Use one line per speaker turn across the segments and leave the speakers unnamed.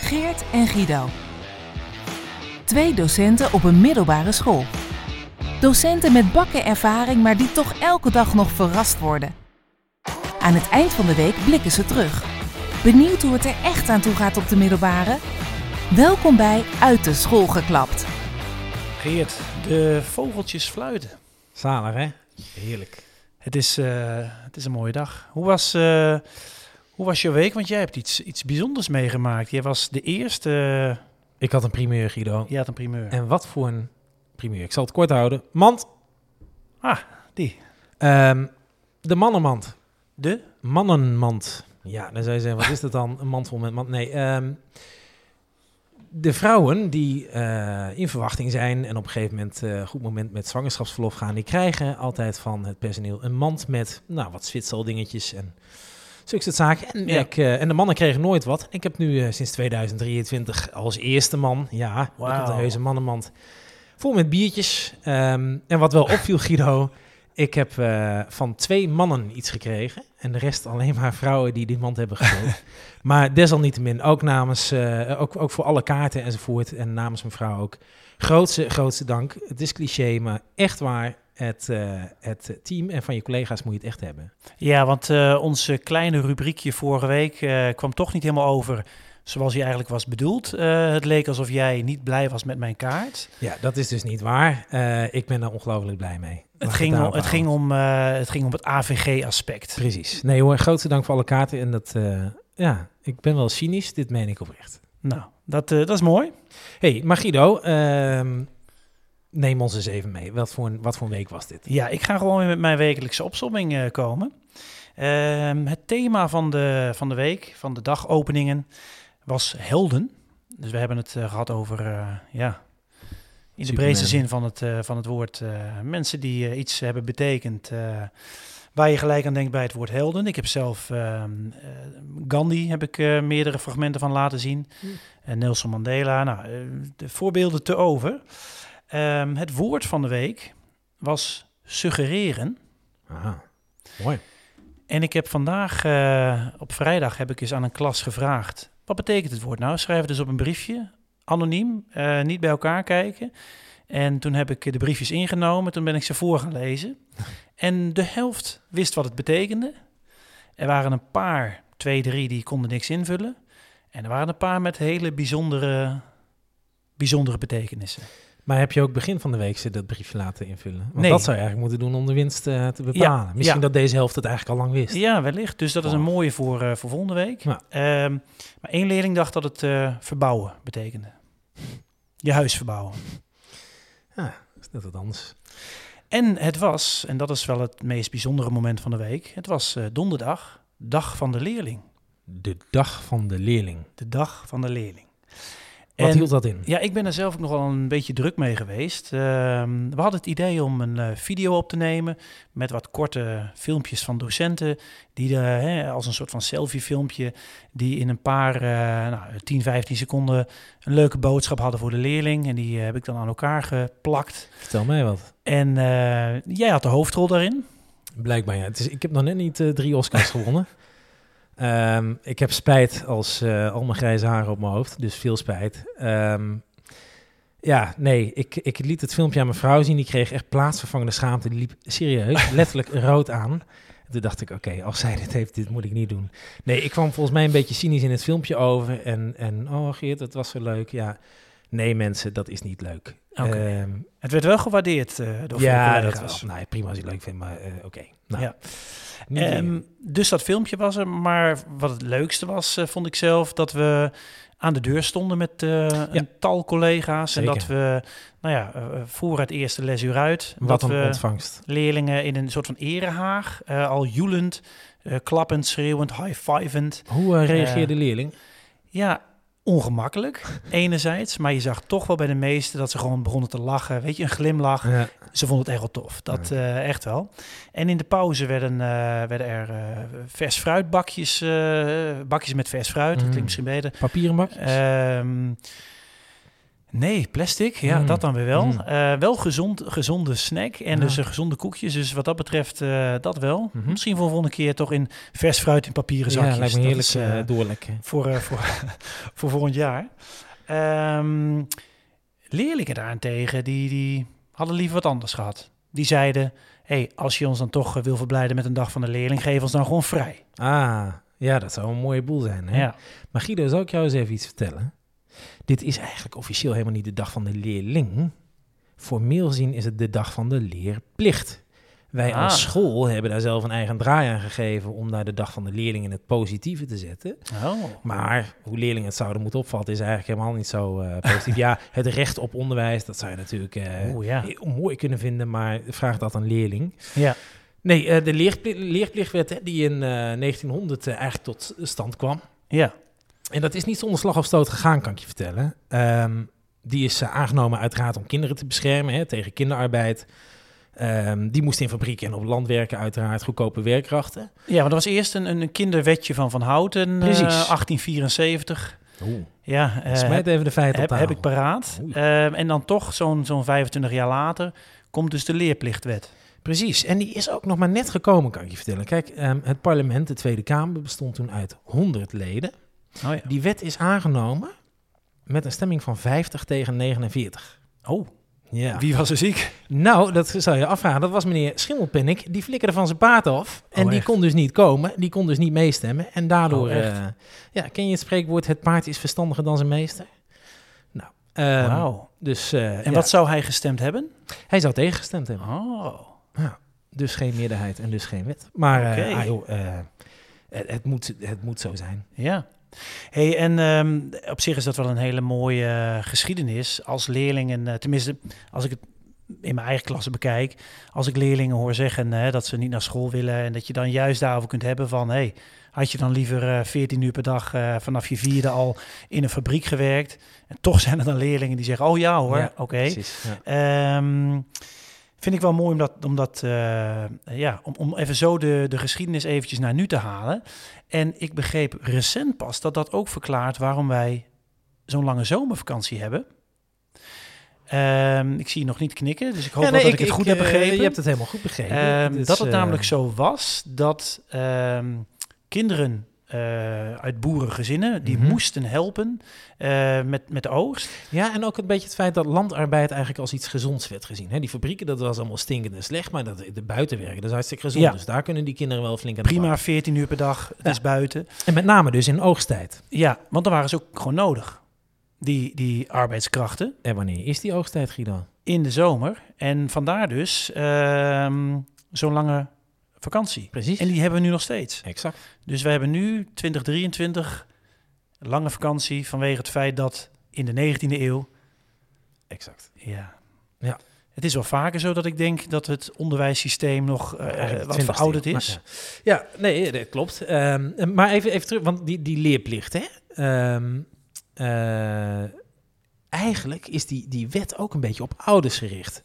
Geert en Guido. Twee docenten op een middelbare school. Docenten met bakken ervaring, maar die toch elke dag nog verrast worden. Aan het eind van de week blikken ze terug. Benieuwd hoe het er echt aan toe gaat op de middelbare? Welkom bij Uit de School geklapt.
Geert, de vogeltjes fluiten.
Zalig, hè? Heerlijk.
Het is, eh, het is een mooie dag. Hoe was, eh, hoe was je week? Want jij hebt iets, iets bijzonders meegemaakt. Jij was de eerste. eh,
Ik had een primeur, Guido.
je had een primeur.
En wat voor een primeur. Ik zal het kort houden. Mand.
Ah, die.
Ehm, de mannenmand.
De?
Mannenmand. Ja, dan zou je zeggen, wat is dat dan? Een mand vol met mand. Nee, ehm, de vrouwen die eh, in verwachting zijn en op een gegeven moment, eh, goed moment met zwangerschapsverlof gaan, die krijgen altijd van het personeel een mand met, nou, wat zwitseldingetjes en zulke soort zaken. En,
Ja.
ik, eh, en de mannen kregen nooit wat. Ik heb nu eh, sinds 2023 als eerste man, ja, ik heb
Wauw.
een heuse mannenmand vol met biertjes. Ehm, en wat wel opviel, Guido, ik heb eh, van twee mannen iets gekregen en de rest alleen maar vrouwen die die mand hebben gevuld. Maar desalniettemin, ook namens, eh, ook, ook voor alle kaarten enzovoort en namens mevrouw ook. Grootste, grootste dank. Het is cliché, maar echt waar. Het, eh, het team en van je collega's moet je het echt hebben.
Ja, want eh ons eh, kleine rubriekje vorige week eh, kwam toch niet helemaal over zoals hij eigenlijk was bedoeld. Eh, het leek alsof jij niet blij was met mijn kaart.
Ja, dat is dus niet waar. Eh, ik ben daar ongelooflijk blij mee. Laat ik
Het ging, om,
daarop
het, ging om, eh, het ging om het AVG-aspect.
houden. Precies. Nee hoor, grootste dank voor alle kaarten. En dat, eh, ja, ik ben wel cynisch. Dit meen ik oprecht.
Nou, dat, eh, dat is mooi.
hey, maar Guido, ehm, neem ons eens even mee. Wat voor, een, wat voor een week was dit?
Ja, ik ga gewoon weer met mijn wekelijkse opsomming eh, komen. Ehm, het thema van de, van de week, van de dagopeningen, was helden. Dus we hebben het eh, gehad over, eh, ja, in de
Superman.
breedste zin van het, eh, van het woord, eh, mensen die eh, iets hebben betekend. eh, waar je gelijk aan denkt bij het woord helden. Ik heb zelf ehm, eh, Gandhi, heb ik eh, meerdere fragmenten van laten zien.
Hm.
En Nelson Mandela, nou, eh, de voorbeelden te over. Ehm, het woord van de week was suggereren.
Aha, mooi.
En ik heb vandaag, eh, op vrijdag, heb ik eens aan een klas gevraagd. Wat betekent het woord nou? Schrijf het dus op een briefje, anoniem, eh, niet bij elkaar kijken. En toen heb ik de briefjes ingenomen, toen ben ik ze voor gaan lezen. En de helft wist wat het betekende. Er waren een paar, twee, drie, die konden niks invullen. En er waren een paar met hele bijzondere, bijzondere betekenissen.
Maar heb je ook begin van de week ze dat briefje laten invullen? Want
Nee.
dat zou je eigenlijk moeten doen om de winst eh, te bepalen.
Ja,
Misschien
ja.
dat deze helft het eigenlijk al lang wist.
Ja, wellicht. Dus dat is een
Wow.
mooie voor, eh, voor volgende week.
Ja.
Ehm, maar één leerling dacht dat het eh, verbouwen betekende. Je huis verbouwen.
Is dat het anders?
En het was, en dat is wel het meest bijzondere moment van de week, het was eh, donderdag, dag van de leerling.
De dag van de leerling.
De dag van de leerling.
Wat
En-
hield dat in?
Ja, ik ben er zelf ook nog wel een beetje druk mee geweest. Ehm, we hadden het idee om een eh, video op te nemen met wat korte filmpjes van docenten. Die de, hè, als een soort van selfie-filmpje, die in een paar, eh, nou, 10, 15 seconden een leuke boodschap hadden voor de leerling. En die eh, heb ik dan aan elkaar geplakt.
Vertel mij wat.
En eh, jij had de hoofdrol daarin.
Blijkbaar ja. Het is, ik heb nog net niet eh, drie Oscars gewonnen. Ehm, ik heb spijt als eh, al mijn grijze haren op mijn hoofd. Dus veel spijt. Ehm, ja, nee. Ik, ik liet het filmpje aan mijn vrouw zien. Die kreeg echt plaatsvervangende schaamte. Die liep serieus letterlijk rood aan. Toen dacht ik, oké, als zij dit heeft, dit moet ik niet doen. Nee, ik kwam volgens mij een beetje cynisch in het filmpje over. En, en oh Geert, dat was zo leuk. Ja, nee mensen, dat is niet leuk.
Oké.
Ehm,
Het werd wel gewaardeerd eh, door veel
ja, dat
collega's.
was, nou, ja, prima als je het leuk vindt, maar eh, oké. Nou,
Ja.
niet
Ehm,
leren.
dus dat filmpje was er. Maar wat het leukste was, eh, vond ik zelf, dat we aan de deur stonden met eh, een tal collega's.
Zeker.
En dat we, nou ja, eh, voor het eerste lesuur uit,
Wat
dat
een
we
ontvangst.
leerlingen in een soort van erehaag, eh, al joelend, eh, klappend, schreeuwend, high-fivend.
Hoe eh, reageerde de leerling?
Ja, ongemakkelijk enerzijds, maar je zag toch wel bij de meesten dat ze gewoon begonnen te lachen. Weet je, een glimlach
Ja.
ze vonden het echt wel tof. Dat eh, echt wel. En in de pauze werden, eh, werden er eh, vers fruitbakjes, eh bakjes met vers fruit. Dat
Mm. Eh,
klinkt misschien beter.
Papieren bakjes?
Ehm, Nee, plastic. Ja,
Mm.
dat dan weer wel.
Mm.
Eh, wel gezond, gezonde snack en
Ja.
dus eh, gezonde koekjes. Dus wat dat betreft, eh, dat wel.
Mhm.
Misschien voor de volgende keer toch in vers fruit in papieren zakjes.
Ja, lijkt me
Dat
heerlijk
is, eh,
eh, doorlekken.
voor, eh, voor, voor volgend jaar. Ehm, leerlingen daarentegen, die, die hadden liever wat anders gehad. Die zeiden, hey, als je ons dan toch eh, wil verblijden met een dag van de leerling, geef ons dan gewoon vrij.
Ah, ja, dat zou een mooie boel zijn. Hè?
Ja.
Maar Guido, zou ik jou eens even iets vertellen? Dit is eigenlijk officieel helemaal niet de dag van de leerling. Formeel gezien is het de dag van de leerplicht. Wij
Ah.
als school hebben daar zelf een eigen draai aan gegeven om daar de dag van de leerling in het positieve te zetten.
Oh.
Maar hoe leerlingen het zouden moeten opvatten is eigenlijk helemaal niet zo eh, positief. ja, het recht op onderwijs, dat zou je natuurlijk eh,
Oeh, ja.
heel mooi kunnen vinden, maar vraag dat aan leerling.
Ja.
Nee, eh, de leerpli- leerplichtwet hè, die in eh, 1900 eh, eigenlijk tot stand kwam.
Ja.
En dat is niet zonder slag of stoot gegaan, kan ik je vertellen. Ehm, die is eh, aangenomen uiteraard om kinderen te beschermen hè, tegen kinderarbeid. Ehm, die moesten in fabrieken en op het land werken, uiteraard goedkope werkkrachten.
ja, want er was eerst een, een kinderwetje van Van Houten, eh,
Precies.
1874.
Oeh,
Ja, eh,
smijt even de feiten
heb,
op tafel.
heb ik paraat.
Oei.
Ehm, en dan toch zo'n zo'n 25 jaar later komt dus de leerplichtwet.
Precies, en die is ook nog maar net gekomen, kan ik je vertellen. Kijk, ehm, het parlement, de Tweede Kamer, bestond toen uit 100 leden.
Oh ja.
Die wet is aangenomen met een stemming van 50 tegen 49.
Oh,
Ja.
wie was er ziek?
Nou, dat zou je afvragen. Dat was meneer Schimmelpennik. Die flikkerde van zijn paard af. En
Oh,
die
echt?
kon dus niet komen. Die kon dus niet meestemmen. En daardoor...
Oh, echt?
eh, ja, ken je het spreekwoord... Het paard is verstandiger dan zijn meester? Nou, ehm,
Wauw.
dus... eh,
En
ja,
wat zou hij gestemd hebben?
Hij zou tegengestemd hebben.
Oh.
Dus geen meerderheid en dus geen wet. Maar eh,
Oké.
ah, joh, eh, het, het moet, het moet zo zijn.
Ja. Hey, en ehm, op zich is dat wel een hele mooie eh, geschiedenis. Als leerlingen, eh, tenminste, als ik het in mijn eigen klasse bekijk, als ik leerlingen hoor zeggen hè, dat ze niet naar school willen en dat je dan juist daarover kunt hebben van, hey, had je dan liever eh 14 uur per dag eh, vanaf je vierde al in een fabriek gewerkt? En toch zijn er dan leerlingen die zeggen, oh ja hoor,
Ja,
oké.
Precies. Ja.
Ehm, vind ik wel mooi om, dat, om, dat, eh, ja, om, om even zo de, de geschiedenis eventjes naar nu te halen. En ik begreep recent pas dat dat ook verklaart waarom wij zo'n lange zomervakantie hebben. Ehm, ik zie je nog niet knikken, dus ik hoop
Ja,
wel
nee,
dat ik, het goed heb
eh,
begrepen.
Je hebt het helemaal goed begrepen.
Ehm,
Dus,
dat het
eh,
namelijk zo was dat ehm, kinderen eh, uit boerengezinnen, die
Mhm.
moesten helpen eh, met, met de oogst.
Ja, en ook een beetje het feit dat landarbeid eigenlijk als iets gezonds werd gezien. Hè? Die fabrieken, dat was allemaal stinkend en slecht, maar dat, de buitenwerken, dat is hartstikke gezond.
Ja.
Dus daar kunnen die kinderen wel flink aan de
Prima, 14 uur per dag, het
Ja.
is buiten.
bak. En met name dus in oogsttijd.
Ja, want dan waren ze ook gewoon nodig, die, die arbeidskrachten,
En wanneer is die oogsttijd, Guido?
in de zomer. En vandaar dus ehm, zo'n lange vakantie.
Precies.
En die hebben we nu nog steeds.
Exact.
Dus we hebben nu 2023 een lange vakantie vanwege het feit dat in de 19e eeuw...
Exact.
Ja,
Ja.
Het is wel vaker zo dat ik denk dat het onderwijssysteem nog eh,
Eigenlijk
wat
20e
verouderd
eeuw.
is.
Maar, ja. Ja, nee, dat klopt. Ehm, maar even, even terug, want die, die leerplicht, hè? Ehm, eh, eigenlijk is die, die wet ook een beetje op ouders gericht.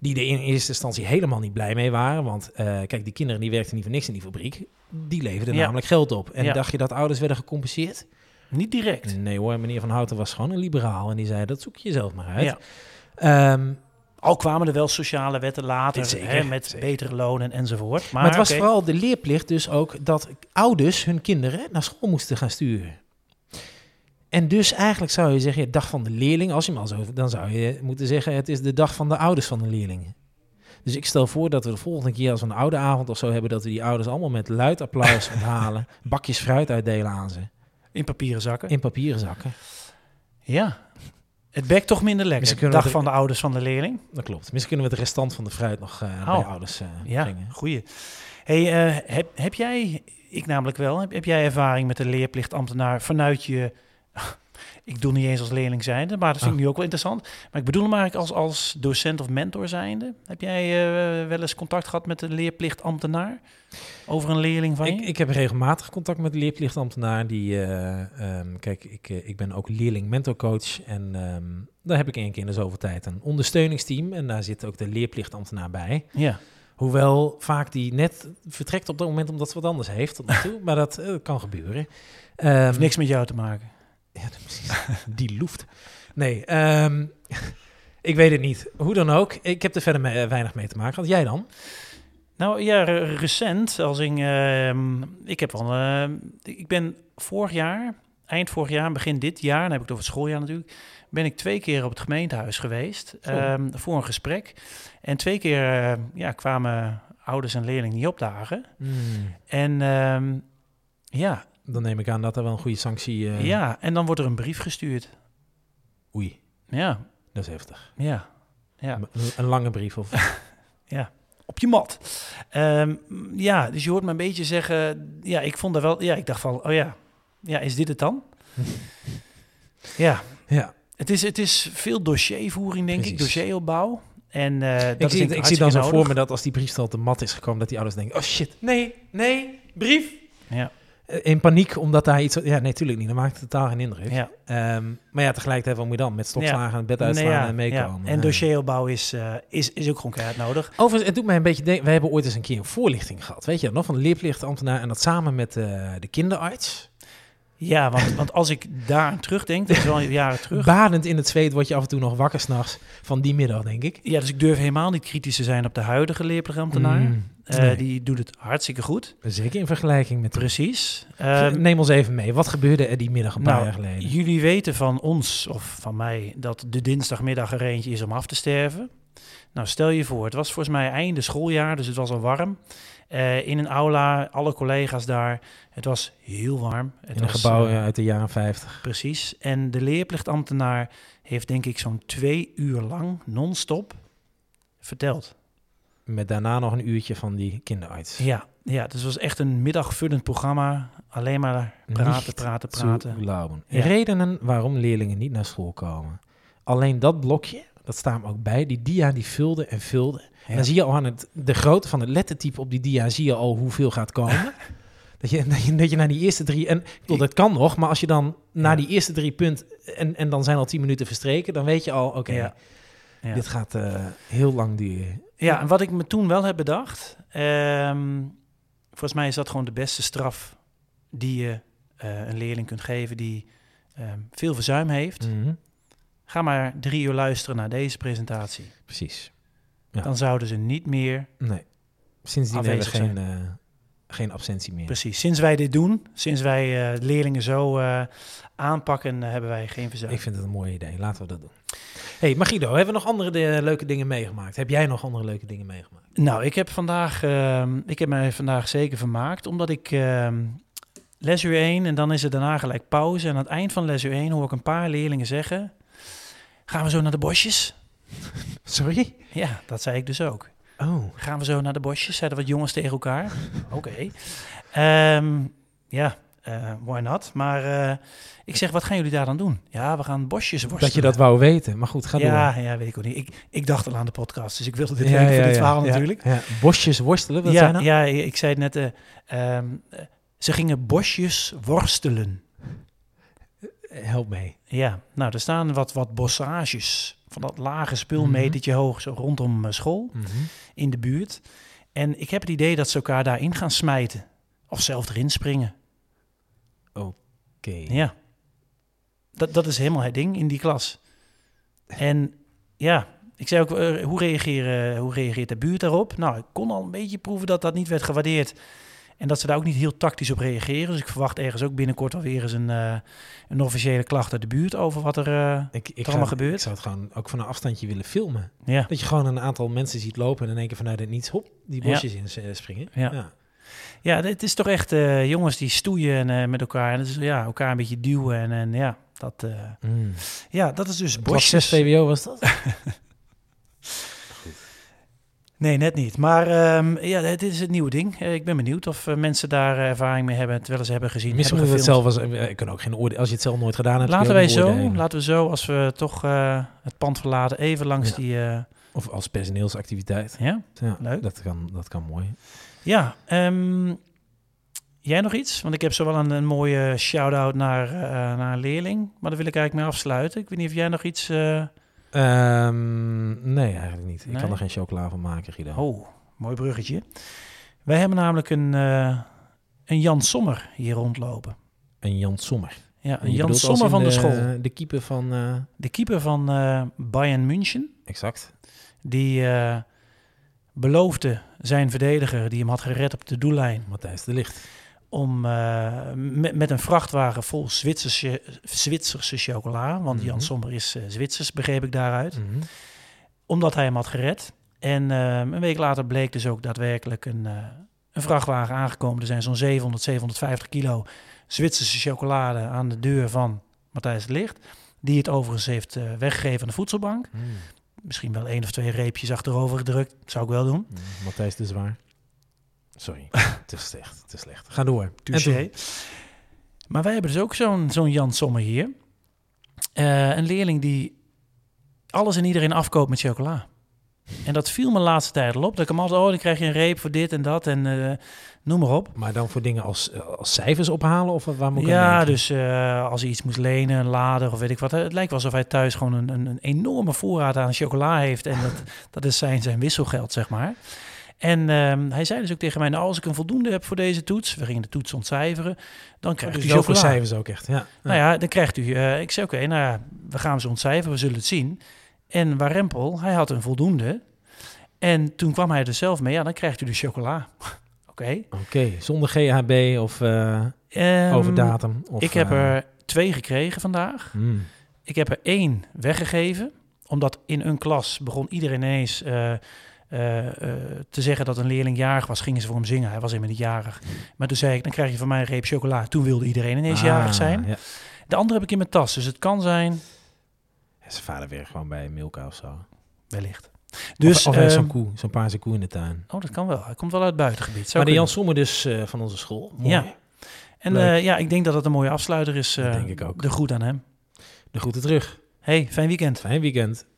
Die er in eerste instantie helemaal niet blij mee waren. Want eh, kijk, die kinderen die werkten niet voor niks in die fabriek. Die leverden
Ja.
namelijk geld op. En
Ja.
dacht je dat ouders werden gecompenseerd?
Niet direct.
Nee hoor, meneer Van Houten was gewoon een liberaal. En die zei, dat zoek je zelf maar uit.
Ja.
Ehm,
Al kwamen er wel sociale wetten later
Zeker,
hè, met
zeker.
betere lonen enzovoort. Maar,
maar, het was
oké.
vooral de leerplicht dus ook dat ouders hun kinderen naar school moesten gaan sturen. En dus eigenlijk zou je zeggen, ja, dag van de leerling, als je hem al zo... Dan zou je moeten zeggen, het is de dag van de ouders van de leerlingen. Dus ik stel voor dat we de volgende keer als we een oude avond of zo hebben... dat we die ouders allemaal met luid applaus onthalen, bakjes fruit uitdelen aan ze,
in papieren zakken.
in papieren zakken.
Ja. Het bekt toch minder
Misschien
lekker.
kunnen we
dag
dat- e-
van de ouders van de leerling.
Dat klopt. Misschien kunnen we het restant van de fruit nog eh bij
Oh.
de ouders eh,
Ja,
brengen.
goeie. Hey, eh, heb, heb jij, ik namelijk wel, heb, heb jij ervaring met de leerplichtambtenaar vanuit je... Ik doe niet eens als leerling zijnde, maar dat
Ah.
vind ik nu ook wel interessant. Maar ik bedoel hem eigenlijk als, als docent of mentor zijnde. Heb jij eh, wel eens contact gehad met een leerplichtambtenaar over een leerling van je?
Ik, ik heb regelmatig contact met de leerplichtambtenaar. Die, eh, ehm, kijk, ik, eh, ik ben ook leerling-mentorcoach. En ehm, daar heb ik één keer in de zoveel tijd een ondersteuningsteam. En daar zit ook de leerplichtambtenaar bij.
Ja,
Hoewel vaak die net vertrekt op dat moment omdat ze wat anders heeft tot nog toe. maar dat eh, kan gebeuren. Ehm,
heeft niks met jou te maken.
ja, precies. die loeft. Nee, ehm, ik weet het niet. Hoe dan ook, ik heb er verder me- eh, weinig mee te maken. Had jij dan?
Nou ja, re- recent, als in, ehm, ik heb al, ehm, ik ben vorig jaar, eind vorig jaar, begin dit jaar, dan heb ik het over het schooljaar natuurlijk, ben ik twee keer op het gemeentehuis geweest
Zo.
ehm, voor een gesprek. En twee keer eh, ja, kwamen ouders en leerlingen niet opdagen. En ehm, ja,
Dan neem ik aan dat er wel een goede sanctie... eh,
ja, en dan wordt er een brief gestuurd.
Oei,
Ja,
dat is heftig.
ja. Ja.
Een, een lange brief of...
op je mat. Ehm, ja, dus je hoort me een beetje zeggen. Ja, ik vond dat wel. Ja, ik dacht van, oh ja, ja, is dit het dan? ja,
ja.
het is, het is veel dossiervoering, denk ik,
Precies.
dossieropbouw. En eh, dat
Ik
is
zie,
denk
ik zie dan zo
hartstikke
voor me
nodig.
dat als die brief dan op de mat is gekomen, dat die ouders denken, oh shit, nee, nee, brief.
Ja.
Eh, In paniek, omdat daar iets... Ja, nee, tuurlijk niet. Dat maakt het totaal geen indruk.
Ja,
Ehm, maar ja, tegelijkertijd, wat moet je dan? Met stokslagen het bed uitslaan
Nee, ja,
en meekomen.
ja. En dossieropbouw is, eh, is, is ook gewoon keihard nodig.
Overigens, het doet mij een beetje denken... We hebben ooit eens een keer een voorlichting gehad, weet je dat nog? Van de leerplichtambtenaar en dat samen met eh, de kinderarts.
Ja, want, want als ik daar aan terugdenk, dat is wel jaren terug.
Badend in het zweet word je af en toe nog wakker s'nachts van die middag, denk ik.
Ja, dus ik durf helemaal niet kritisch te zijn op de huidige leerplichtambtenaar.
Mm,
Eh,
nee.
Die doet het hartstikke goed.
Zeker in vergelijking met...
Precies.
Eh,
Ehm,
Neem ons even mee. Wat gebeurde er die middag een paar
Nou,
jaar geleden?
Jullie weten van ons, of van mij, dat de dinsdagmiddag er eentje is om af te sterven. Nou, stel je voor, het was volgens mij einde schooljaar, dus het was al warm. Eh, in een aula, alle collega's daar. Het was heel warm. Het
In een
was,
gebouw
eh,
eh, uit de jaren 50.
Precies. En de leerplichtambtenaar heeft denk ik zo'n twee uur lang, non-stop, verteld.
Met daarna nog een uurtje van die kinderarts.
Ja, ja, dus het was echt een middagvullend programma. Alleen maar praten,
Niet
praten,
Zu
praten.
glauben.
Ja.
Redenen waarom leerlingen niet naar school komen. Alleen dat blokje, dat staat hem ook bij, die dia die vulde en vulde. En
Ja.
dan zie je al aan het, de grootte van het lettertype op die dia, zie je al hoeveel gaat komen. dat, je, dat, je, dat je naar die eerste drie, en ik bedoel, dat kan nog, maar als je dan naar
Ja.
die eerste drie punt, en, en dan zijn al tien minuten verstreken, dan weet je al, oké,
Ja. Ja.
dit gaat eh, heel lang duren.
Ja, en wat ik me toen wel heb bedacht. ehm, volgens mij is dat gewoon de beste straf die je eh, een leerling kunt geven die ehm, veel verzuim heeft.
Mhm,
Ga maar drie uur luisteren naar deze presentatie.
Precies. Ja.
Dan zouden ze niet meer.
Nee. Sindsdien hebben we
Afwezig
geen, eh, geen absentie meer.
Precies. Sinds wij dit doen, sinds wij eh, leerlingen zo eh, aanpakken, eh, hebben wij geen verzuim.
Ik vind het een mooi idee. Laten we dat doen. hey, maar Guido, hebben we nog andere de- eh, leuke dingen meegemaakt? Heb jij nog andere leuke dingen meegemaakt?
Nou, ik heb vandaag, ehm, ik heb mij vandaag zeker vermaakt, omdat ik ehm, lesuur 1 en dan is er daarna gelijk pauze. En aan het eind van lesuur 1 hoor ik een paar leerlingen zeggen: Gaan we zo naar de bosjes?
Sorry?
Ja, dat zei ik dus ook.
Oh.
Gaan we zo naar de bosjes? Zeiden wat jongens tegen elkaar. Oké. Ehm, ja, eh, why not? Maar eh, ik zeg: Wat gaan jullie daar dan doen? Ja, we gaan bosjes worstelen.
Dat je dat wou weten. Maar goed, ga door.
ja, ja, weet ik ook niet. Ik, ik dacht al aan de podcast, dus ik wilde dit weten voor dit verhaal
ja.
natuurlijk.
Ja. Bosjes worstelen, wat zijn
Ja,
dat?
ja, ik zei het net. eh, ehm, eh, ze gingen bosjes worstelen.
Eh, Help mee.
Ja, nou, er staan wat, wat bossages van dat lage spulmetertje hoog zo rondom eh, school
Mhm.
in de buurt. En ik heb het idee dat ze elkaar daarin gaan smijten. Of zelf erin springen.
Oké.
Ja. Dat, dat is helemaal het ding in die klas. En ja, ik zei ook, eh, hoe, reageren, hoe reageert de buurt daarop? Nou, ik kon al een beetje proeven dat dat niet werd gewaardeerd. En dat ze daar ook niet heel tactisch op reageren. Dus ik verwacht ergens ook binnenkort alweer eens een, eh, een officiële klacht uit de buurt over wat er... eh,
Ik, ik,
allemaal
zou,
gebeurd?
ik zou het gewoon ook van een afstandje willen filmen.
ja.
Dat je gewoon een aantal mensen ziet lopen en in één keer vanuit het niets, hop, die bosjes in eh, springen.
Ja. ja, het is toch echt eh, jongens die stoeien en, eh, met elkaar. En het is, ja, elkaar een beetje duwen. En, en ja, dat, eh,
Mm.
ja, dat is dus
Klas
bosjes.
6 VWO was dat?
Nee, net niet. Maar ehm, ja, het is het nieuwe ding. Eh, ik ben benieuwd of eh, mensen daar eh, ervaring mee hebben, terwijl ze hebben gezien.
Misschien
hebben
moeten we het
gefilmd.
zelf als... eh, Ik kan ook geen oordeel... Als je het zelf nooit gedaan hebt... kun je
Laten
ook
wij
niet
zo,
oordelen.
laten we zo, als we toch eh, het pand verlaten, even langs
Ja.
die. eh,
Of als personeelsactiviteit.
ja,
Ja,
Leuk.
Dat kan, dat kan mooi.
ja ehm, jij nog iets? Want ik heb zowel een, een mooie shout-out naar, eh, naar een leerling, maar daar wil ik eigenlijk mee afsluiten. Ik weet niet of jij nog iets. eh,
Ehm, nee, eigenlijk niet. Ik
Nee?
kan er geen chocola van maken, Guido.
Oh, mooi bruggetje. Wij hebben namelijk een, eh, een Jan Sommer hier rondlopen.
En Jan Sommer.
Ja,
Je
Jan
bedoelt als
Sommer
in
van de, school.
De keeper van... eh,
De keeper van eh, Bayern München.
exact.
Die eh, beloofde zijn verdediger, die hem had gered op de doellijn,
Matthijs de Licht.
om eh, met, met een vrachtwagen vol Zwitserse, Zwitserse chocola, want Jan
Mhm.
Sommer is eh, Zwitsers, begreep ik daaruit, omdat hij hem had gered. En eh, een week later bleek dus ook daadwerkelijk een, eh, een vrachtwagen aangekomen. Er zijn zo'n 700, 750 kilo Zwitserse chocolade aan de deur van Matthijs de Licht, die het overigens heeft eh, weggegeven aan de voedselbank
Mm.
misschien wel één of twee reepjes achterover gedrukt. Zou ik wel doen.
Mm, Matthijs de Zwaar. Sorry, het is slecht, het is slecht. Ga door. En toen-
Maar wij hebben dus ook zo'n zo'n Jan Sommer hier. Eh, een leerling die alles en iedereen afkoopt met chocola. En dat viel me de laatste tijd al op. Dat ik hem altijd, oh, dan krijg je een reep voor dit en dat en eh, noem maar op.
Maar dan voor dingen als, eh, als cijfers ophalen of waar moet ik aan
ja,
denken?
dus eh, als hij iets moest lenen, een lader of weet ik wat. Het lijkt wel alsof hij thuis gewoon een, een, een enorme voorraad aan chocola heeft. En dat, dat is zijn, zijn wisselgeld, zeg maar. En ehm, hij zei dus ook tegen mij, nou als ik een voldoende heb voor deze toets, we gingen de toets ontcijferen, dan
Ja,
krijgt
dus
u
zoveel
chocola.
cijfers ook echt. Ja.
Nou ja, dan krijgt u, eh, ik zei oké, nou ja, we gaan ze ontcijferen, we zullen het zien. En Warempel, hij had een voldoende. En toen kwam hij er zelf mee, ja dan krijgt u de chocola. oké.
Oké, zonder GHB of eh,
Ehm,
over datum. Of,
ik heb
eh,
er twee gekregen vandaag.
mm,
Ik heb er één weggegeven, omdat in een klas begon iedereen ineens eh, eh, eh, te zeggen dat een leerling jarig was. Gingen ze voor hem zingen, hij was helemaal niet jarig. Maar toen zei ik, dan krijg je van mij een reep chocola. Toen wilde iedereen ineens jarig
ah,
zijn.
Ja.
De andere heb ik in mijn tas, dus het kan zijn,
En Zijn vader weer gewoon bij Milka of zo.
wellicht. Dus,
of of hij heeft zo'n
ehm,
koe, zo'n paarse koe in de tuin.
oh, dat kan wel. Hij komt wel uit het buitengebied. Zou
maar de Jan
kunnen.
Sommer dus eh, van onze school. Mooi.
Ja. en
leuk.
eh, ja, ik denk dat dat een mooie afsluiter is.
Dat
eh,
denk ik ook.
De groet aan hem.
De groeten terug.
Hey, fijn weekend.
Fijn weekend.